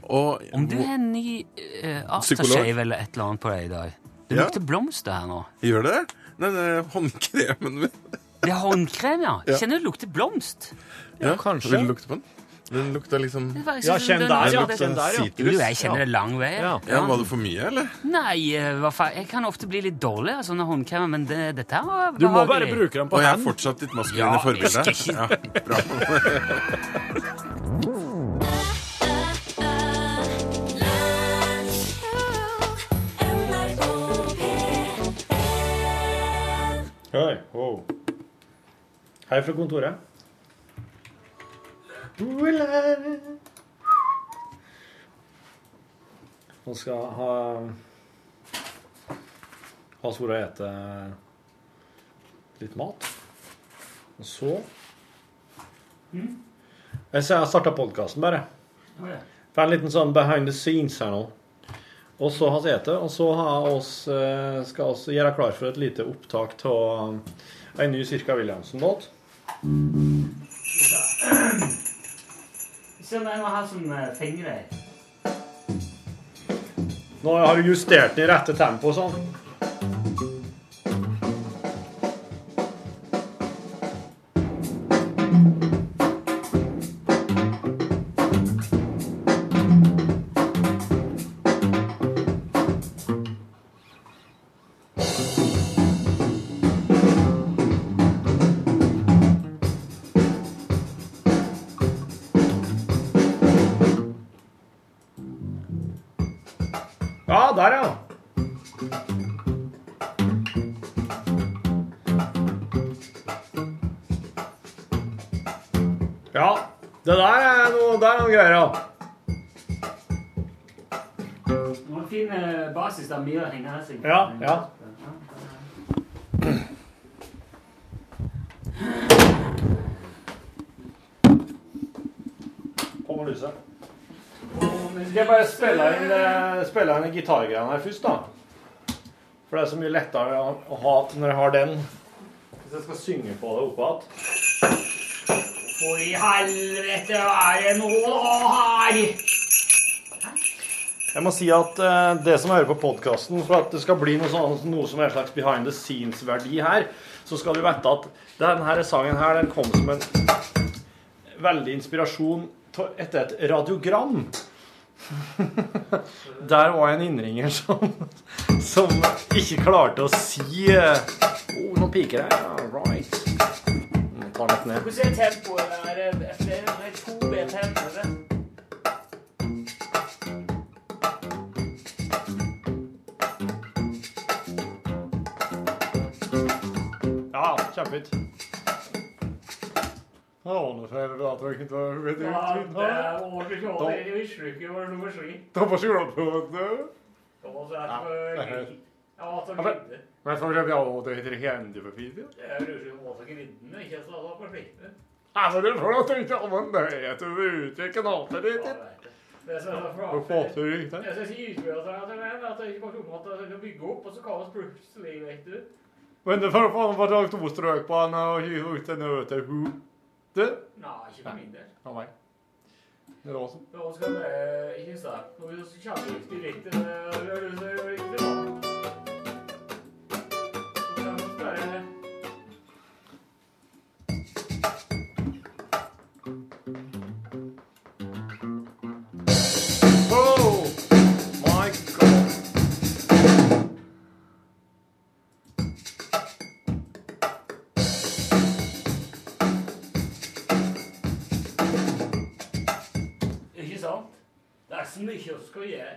S10: Og
S2: Om du har en ny uh,
S10: Psykolog?
S2: aftershave eller et eller annet på deg i dag Det
S10: Ja.
S2: lukter blomster her nå.
S10: Gjør det? Nei, nei, håndkremen min
S2: Det er håndkrem, ja.
S10: Ja.
S2: Kjenner du det lukter blomst?
S10: Ja,
S1: kanskje.
S10: Vil du lukte på den? Den lukta liksom
S2: Det var ikke
S1: Ja,
S2: sånn-
S1: kjenn
S2: det-
S1: der,
S10: Den
S1: ja.
S10: lukta
S1: Kjenn der, ja.
S2: Jo,
S10: sitrus.
S2: jeg kjenner
S1: Ja.
S2: det lang vei.
S1: Ja.
S10: Ja, Var det for mye, eller?
S2: Nei, eh, hva faen. Jeg kan ofte bli litt dårlig av sånne håndkremer, men det, dette her var
S1: Du må bare
S2: behagelig.
S1: bruke den på
S10: Og jeg er
S1: hand.
S10: fortsatt ditt maskuline
S2: Ja,
S10: forbilde.
S2: jeg skal
S10: Ja, bra.
S1: Hei, wow. Hei fra kontoret. Nå skal jeg ha Ha Sora ete litt mat. Og så Jeg ser jeg starta podkasten, bare. For en liten sånn behind the scenes her nå. Og så har vi spist, og så har oss, eh, skal vi gjøre klar for et lite opptak av en ny Cirka Williamson-låt.
S2: Se om jeg må ha sånn eh, fingre.
S1: Nå har du justert den i rette tempo og sånn. Ja, der, ja. Ja, det der er noe, der er noe greier, ja.
S2: Du må finne basis der mye å henge seg
S1: Ja, ja. Kommer lyset. Skal jeg bare spille inn, eh, spille inn gitargreiene her først, da? For det er så mye lettere å, å ha når jeg har den. Hvis jeg skal synge på det oppe igjen.
S2: For i helvete er det noe her?
S1: Jeg må si at eh, det som jeg hører på podkasten, for at det skal bli noe, sånn, noe som er en slags behind the scenes-verdi her, så skal du vite at denne sangen her, den kom som en veldig inspirasjon ta- etter et radiogram. [LAUGHS] Der var en innringer som, som ikke klarte å si eh, oh, nå piker det. Ja, right. tar den ned.
S2: Hvordan er tempoet? Er det flere? Det er to BPM, er det?
S7: Ja, kjempefint. Nå ordner det at du ikke tar vet du,
S2: Ja,
S7: vet du.
S2: det er årets år,
S7: Da-
S2: det mislykkes var nummer sju.
S7: Da får jeg juleplate.
S2: Og så er
S7: Ja,
S2: det
S7: det er helt-
S2: Ja, så
S7: Ja, men-
S2: glidde.
S7: Men for eksempel, ja, og det heter Hendepapir.
S2: Det er jo lurt å måte glidende, ikke sant? Da på sliktene.
S7: Altså, du får da tenke om en nøyhet over uttrykket nater ditt.
S2: Det som er så flate-
S7: Hvor flate du gikk der?
S2: Jeg skal si utførelsen at det er at jeg ikke bare kommer til at jeg skal bygge opp, og så kalles plutselig, vet du.
S7: Men det får faen bare lagt to strøk på han og hive ut en øl til ho. Du?
S2: Nei, ikke for min del.
S7: Ja, nei. Det er awesome.
S2: Nå skal vi eh, ikke starte. Nå vil vi kjenne litt i litt. eh, og gjøre det så riktig bra. Så kan vi spørre-
S1: Oh, my God.
S2: Ikke sant? Det er så mye vi skal gjøre.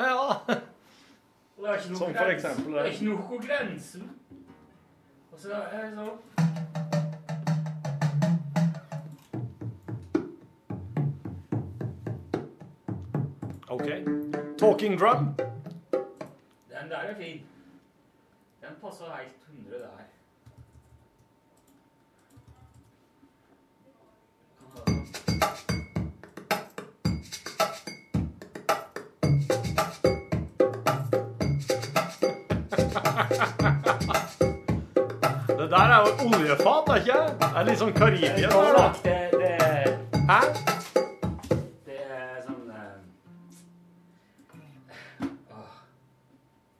S1: Ja.
S2: Og det er ikke noe
S1: Som for
S2: grense-
S1: eksempel,
S2: Det
S1: eh.
S2: er ikke noe grensen. Og så er det sånn.
S1: OK. Talking drum.
S2: Den der er fin. Den passer helt 100 der.
S1: Det der er jo oljefat, er ikke det? Det er litt sånn Karibia. der, da.
S2: Det, det,
S1: Hæ?
S2: det er sånn eh, åh.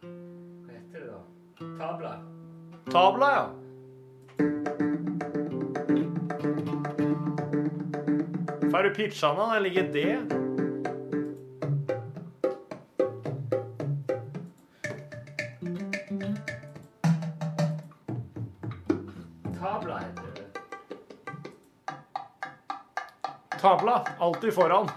S2: Hva heter det, da? Tabla.
S1: Tabla, ja. Får du pitcha den? Der ligger D.
S2: Tabla heter det.
S1: Tavla. Alltid foran.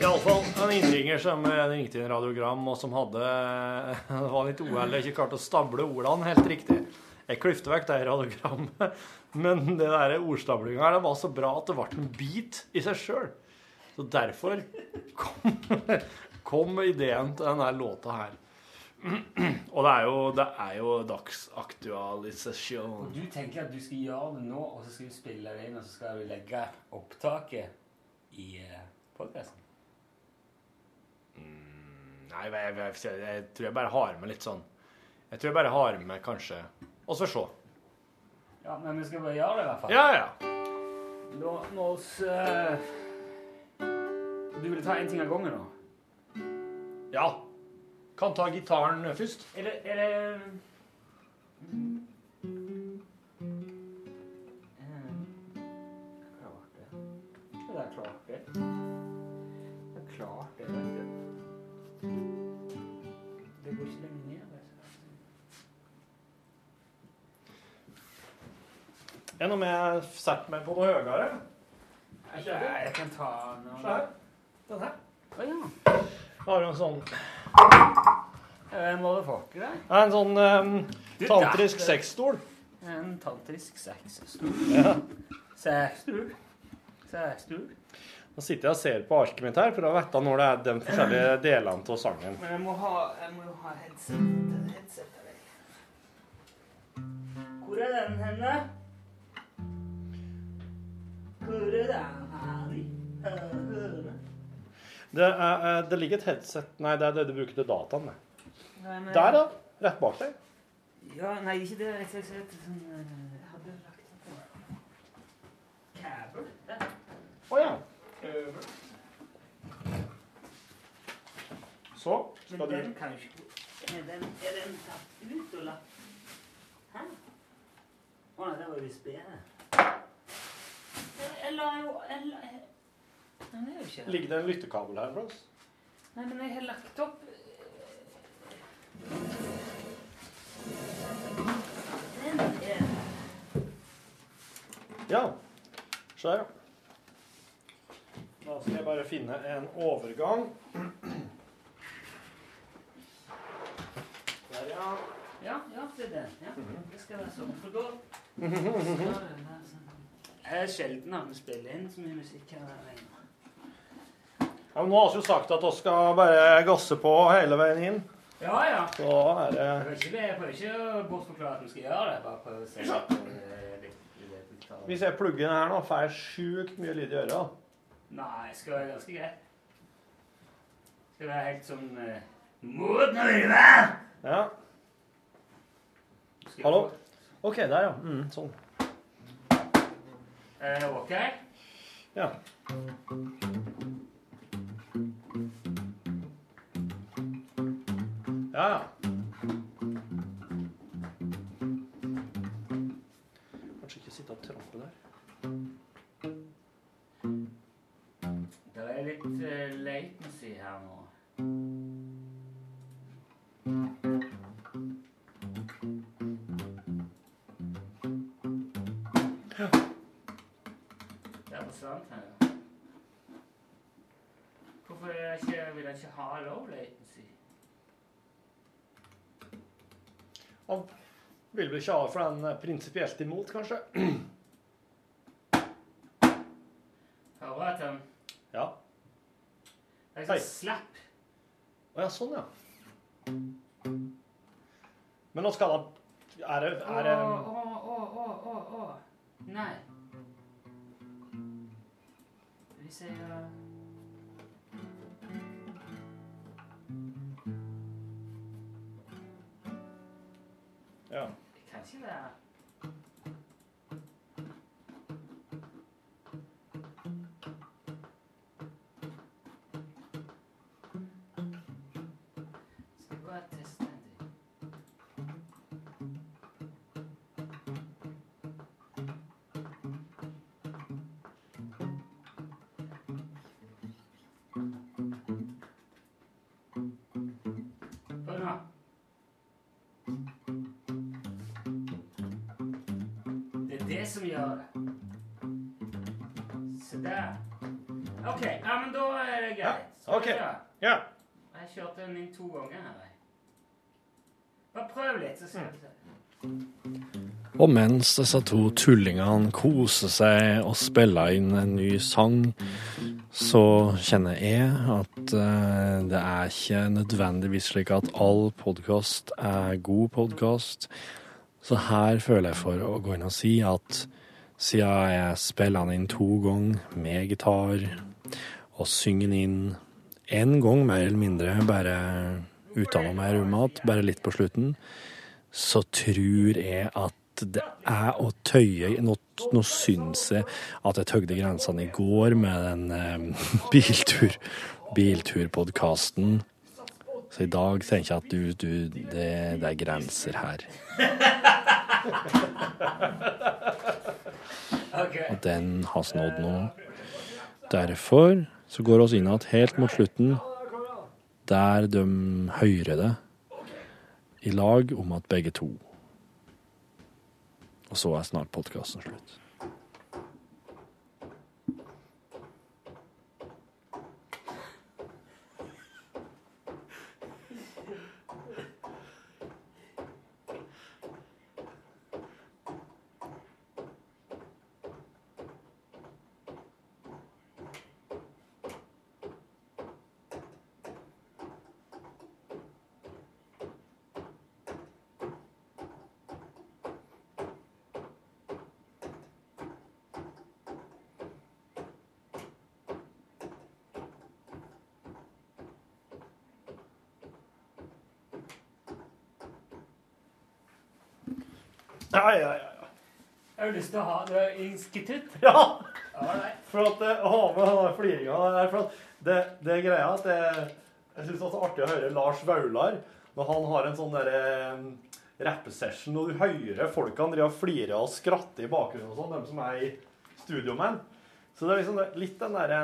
S1: Iallfall en innringer som eh, ringte inn radiogram, og som hadde [LAUGHS] Det var litt OL, ikke klarte å stable ordene helt riktig. Jeg kløfte vekk det radiogrammet, [LAUGHS] men det der ordstablinga her, det var så bra at det ble en bit i seg sjøl. Så derfor kom, [LAUGHS] kom ideen til denne låta her. [CLEARS THROAT] Og det er jo, det er jo dagsaktualisasjon.
S11: Og du tenker at du skal gjøre det nå, og så skal du spille det inn, og så skal du legge opptaket i
S2: eh,
S11: podkasten?
S1: Nei, jeg, jeg, jeg, jeg tror jeg bare har med litt sånn Jeg tror jeg bare har med kanskje Og så se.
S2: Ja, men vi skal bare gjøre det, i hvert fall.
S1: Ja, ja.
S2: Nå, nå oss, eh, Du vil ta én ting av gangen nå?
S1: Ja. Kan ta gitaren først.
S2: Er det, er det Mm. Klart Eh, det. Det er klart det. Det er klart det, vet du. Det går ikke lenger ned. altså.
S1: Enn om jeg setter meg på noe høyere?
S2: Jeg, jeg, jeg kan ta noen
S1: Se her. Den her.
S2: Å ja.
S1: Har du en sånn
S2: Eh, Motherfucker, jeg.
S1: Nei, En sånn ehm,
S2: Du,
S1: tantrisk
S2: der.
S1: sexstol.
S2: En tantrisk sexstol.
S1: Ja.
S2: Sexstol. Sexstol.
S1: Nå sitter jeg og ser på arket mitt her for å vite når det er de [CLEARS THROAT] forskjellige delene av sangen.
S2: Men jeg må ha, jeg må jo ha headset. headset av deg. Hvor er den henne? Hvor er den henne?
S1: Det, er, eh, det ligger et headset Nei, det er det du bruker til dataen. det.
S2: Nei, men-
S1: Der, da. Rett bak deg.
S2: Ja, nei, ikke det. Jeg skal se etter sånn eh, Jeg hadde lagt den på. Kabel? der.
S1: Å ja.
S2: Kabel.
S7: Så
S2: Men
S7: skal du
S2: den kan jo ikke Er den, er den tatt ut og lagt Hæ? Å nei, det var USB-en. Jeg la jo jeg la, jeg, Den er jo ikke der.
S7: Ligger det en lyttekabel her for oss?
S2: Nei, men jeg har lagt opp Den er
S7: Ja. Se her, ja. Da skal jeg bare finne en overgang. Der, ja.
S2: Ja, ja, det er den. Ja. Det skal sånn? være sånn. For [LAUGHS] da Jeg er sjelden han spiller inn så mye musikk her lenger.
S7: ja men nå har vi jo sagt at vi skal bare gasse på hele veien inn.
S2: Ja, ja.
S7: Så er det
S2: Jeg prøver ikke, jeg prøver ikke å bortforklare at vi skal gjøre det. Jeg Bare prøver å se litt, eh, litt, litt, litt av det.
S7: Hvis jeg plugger inn her nå, får jeg sjukt mye lyd i øra.
S2: Nei, det skal være ganske greit. Det skal være helt sånn eh, Mot noe eh! vil være!
S7: Ja. Hallo? OK, der, ja. Mm, sånn.
S2: Eh, OK?
S7: Ja. Ja, ja. Kanskje ikke sitte og trampe der.
S2: Det er litt eh, latency her nå. Der forsvant han, ja. Hvorfor er jeg ikke, vil jeg ikke ha low latency?
S7: Han vil vel ikke ha for den er prinsipielt imot, kanskje?
S2: Hører at han
S7: Ja.
S2: Det er sånn slapp.
S7: Å ja, sånn, ja. Men nå skal han Er det, er det
S2: Åh, åh, åh, åh, åh, åh. Nei. Hvis jeg gjør
S7: Ja.
S2: Det kan ikke være Skal vi bare teste en ting? Hør nå. Det er det som gjør det. Se der. OK. Ja, men da er det greit. Skal vi
S7: OK.
S2: kjøre?
S7: Ja.
S2: Jeg kjørte den inn to ganger her. jeg. Bare prøv litt, så skal vi se.
S1: Og mens disse to tullingene koser seg og spiller inn en ny sang, så kjenner jeg at eh, det er ikke nødvendigvis slik at all podkast er god podkast. Så her føler jeg for å gå inn og si at siden jeg spiller den inn to ganger med gitar, og synger den inn én gang mer eller mindre, bare utenom meg rommet, bare litt på slutten, så tror jeg at det er å tøye Nå, nå syns jeg at jeg tøyde grensene i går med den eh, [LAUGHS] biltur, bilturpodkasten. Så i dag tenker jeg at du, du det, det er grenser her. Og den har vi nådd nå. Derfor så går oss inn igjen helt mot slutten, der de hører det i lag om at begge to. Og så er snart podkasten slutt.
S7: Ja, ja, ja.
S2: Jeg har lyst til å ha det institutt.
S7: Ja! For at eh, å ha med den der fliringa der for at det, det er greia at det,
S1: Jeg syns det er så artig å høre Lars Vaular når han har en sånn derre eh, rappesession, og du hører folkene drive og flire og skratte i bakgrunnen og sånn, de som er i studio med han. Så det er liksom det- litt den derre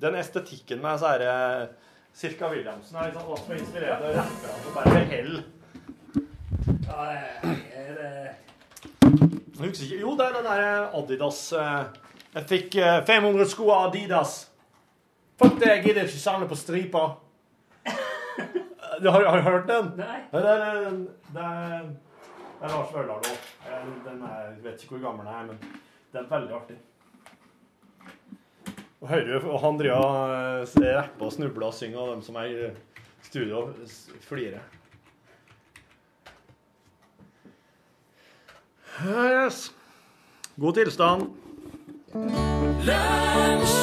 S1: Den estetikken med så herre Cirka Williamsen er liksom også inspirert av rapperne som bare hell.
S12: Ja, er det
S1: Jeg husker ikke. Jo, det er den der Adidas eh, Jeg fikk eh, 500 sko av Adidas. Fuck det, jeg gidder ikke samle på stripa. Eh, Du har, har du hørt den?
S12: Nei.
S1: Det er, eh, det er, det er Lars Vaular nå. Eh, Den er, jeg vet ikke hvor gammel den er, men den er veldig artig. Og hører jo, og han driver og eh, rapper og snubler og synger, og dem som er i studio, s- flirer. Yes. God tilstand.
S3: Lunch.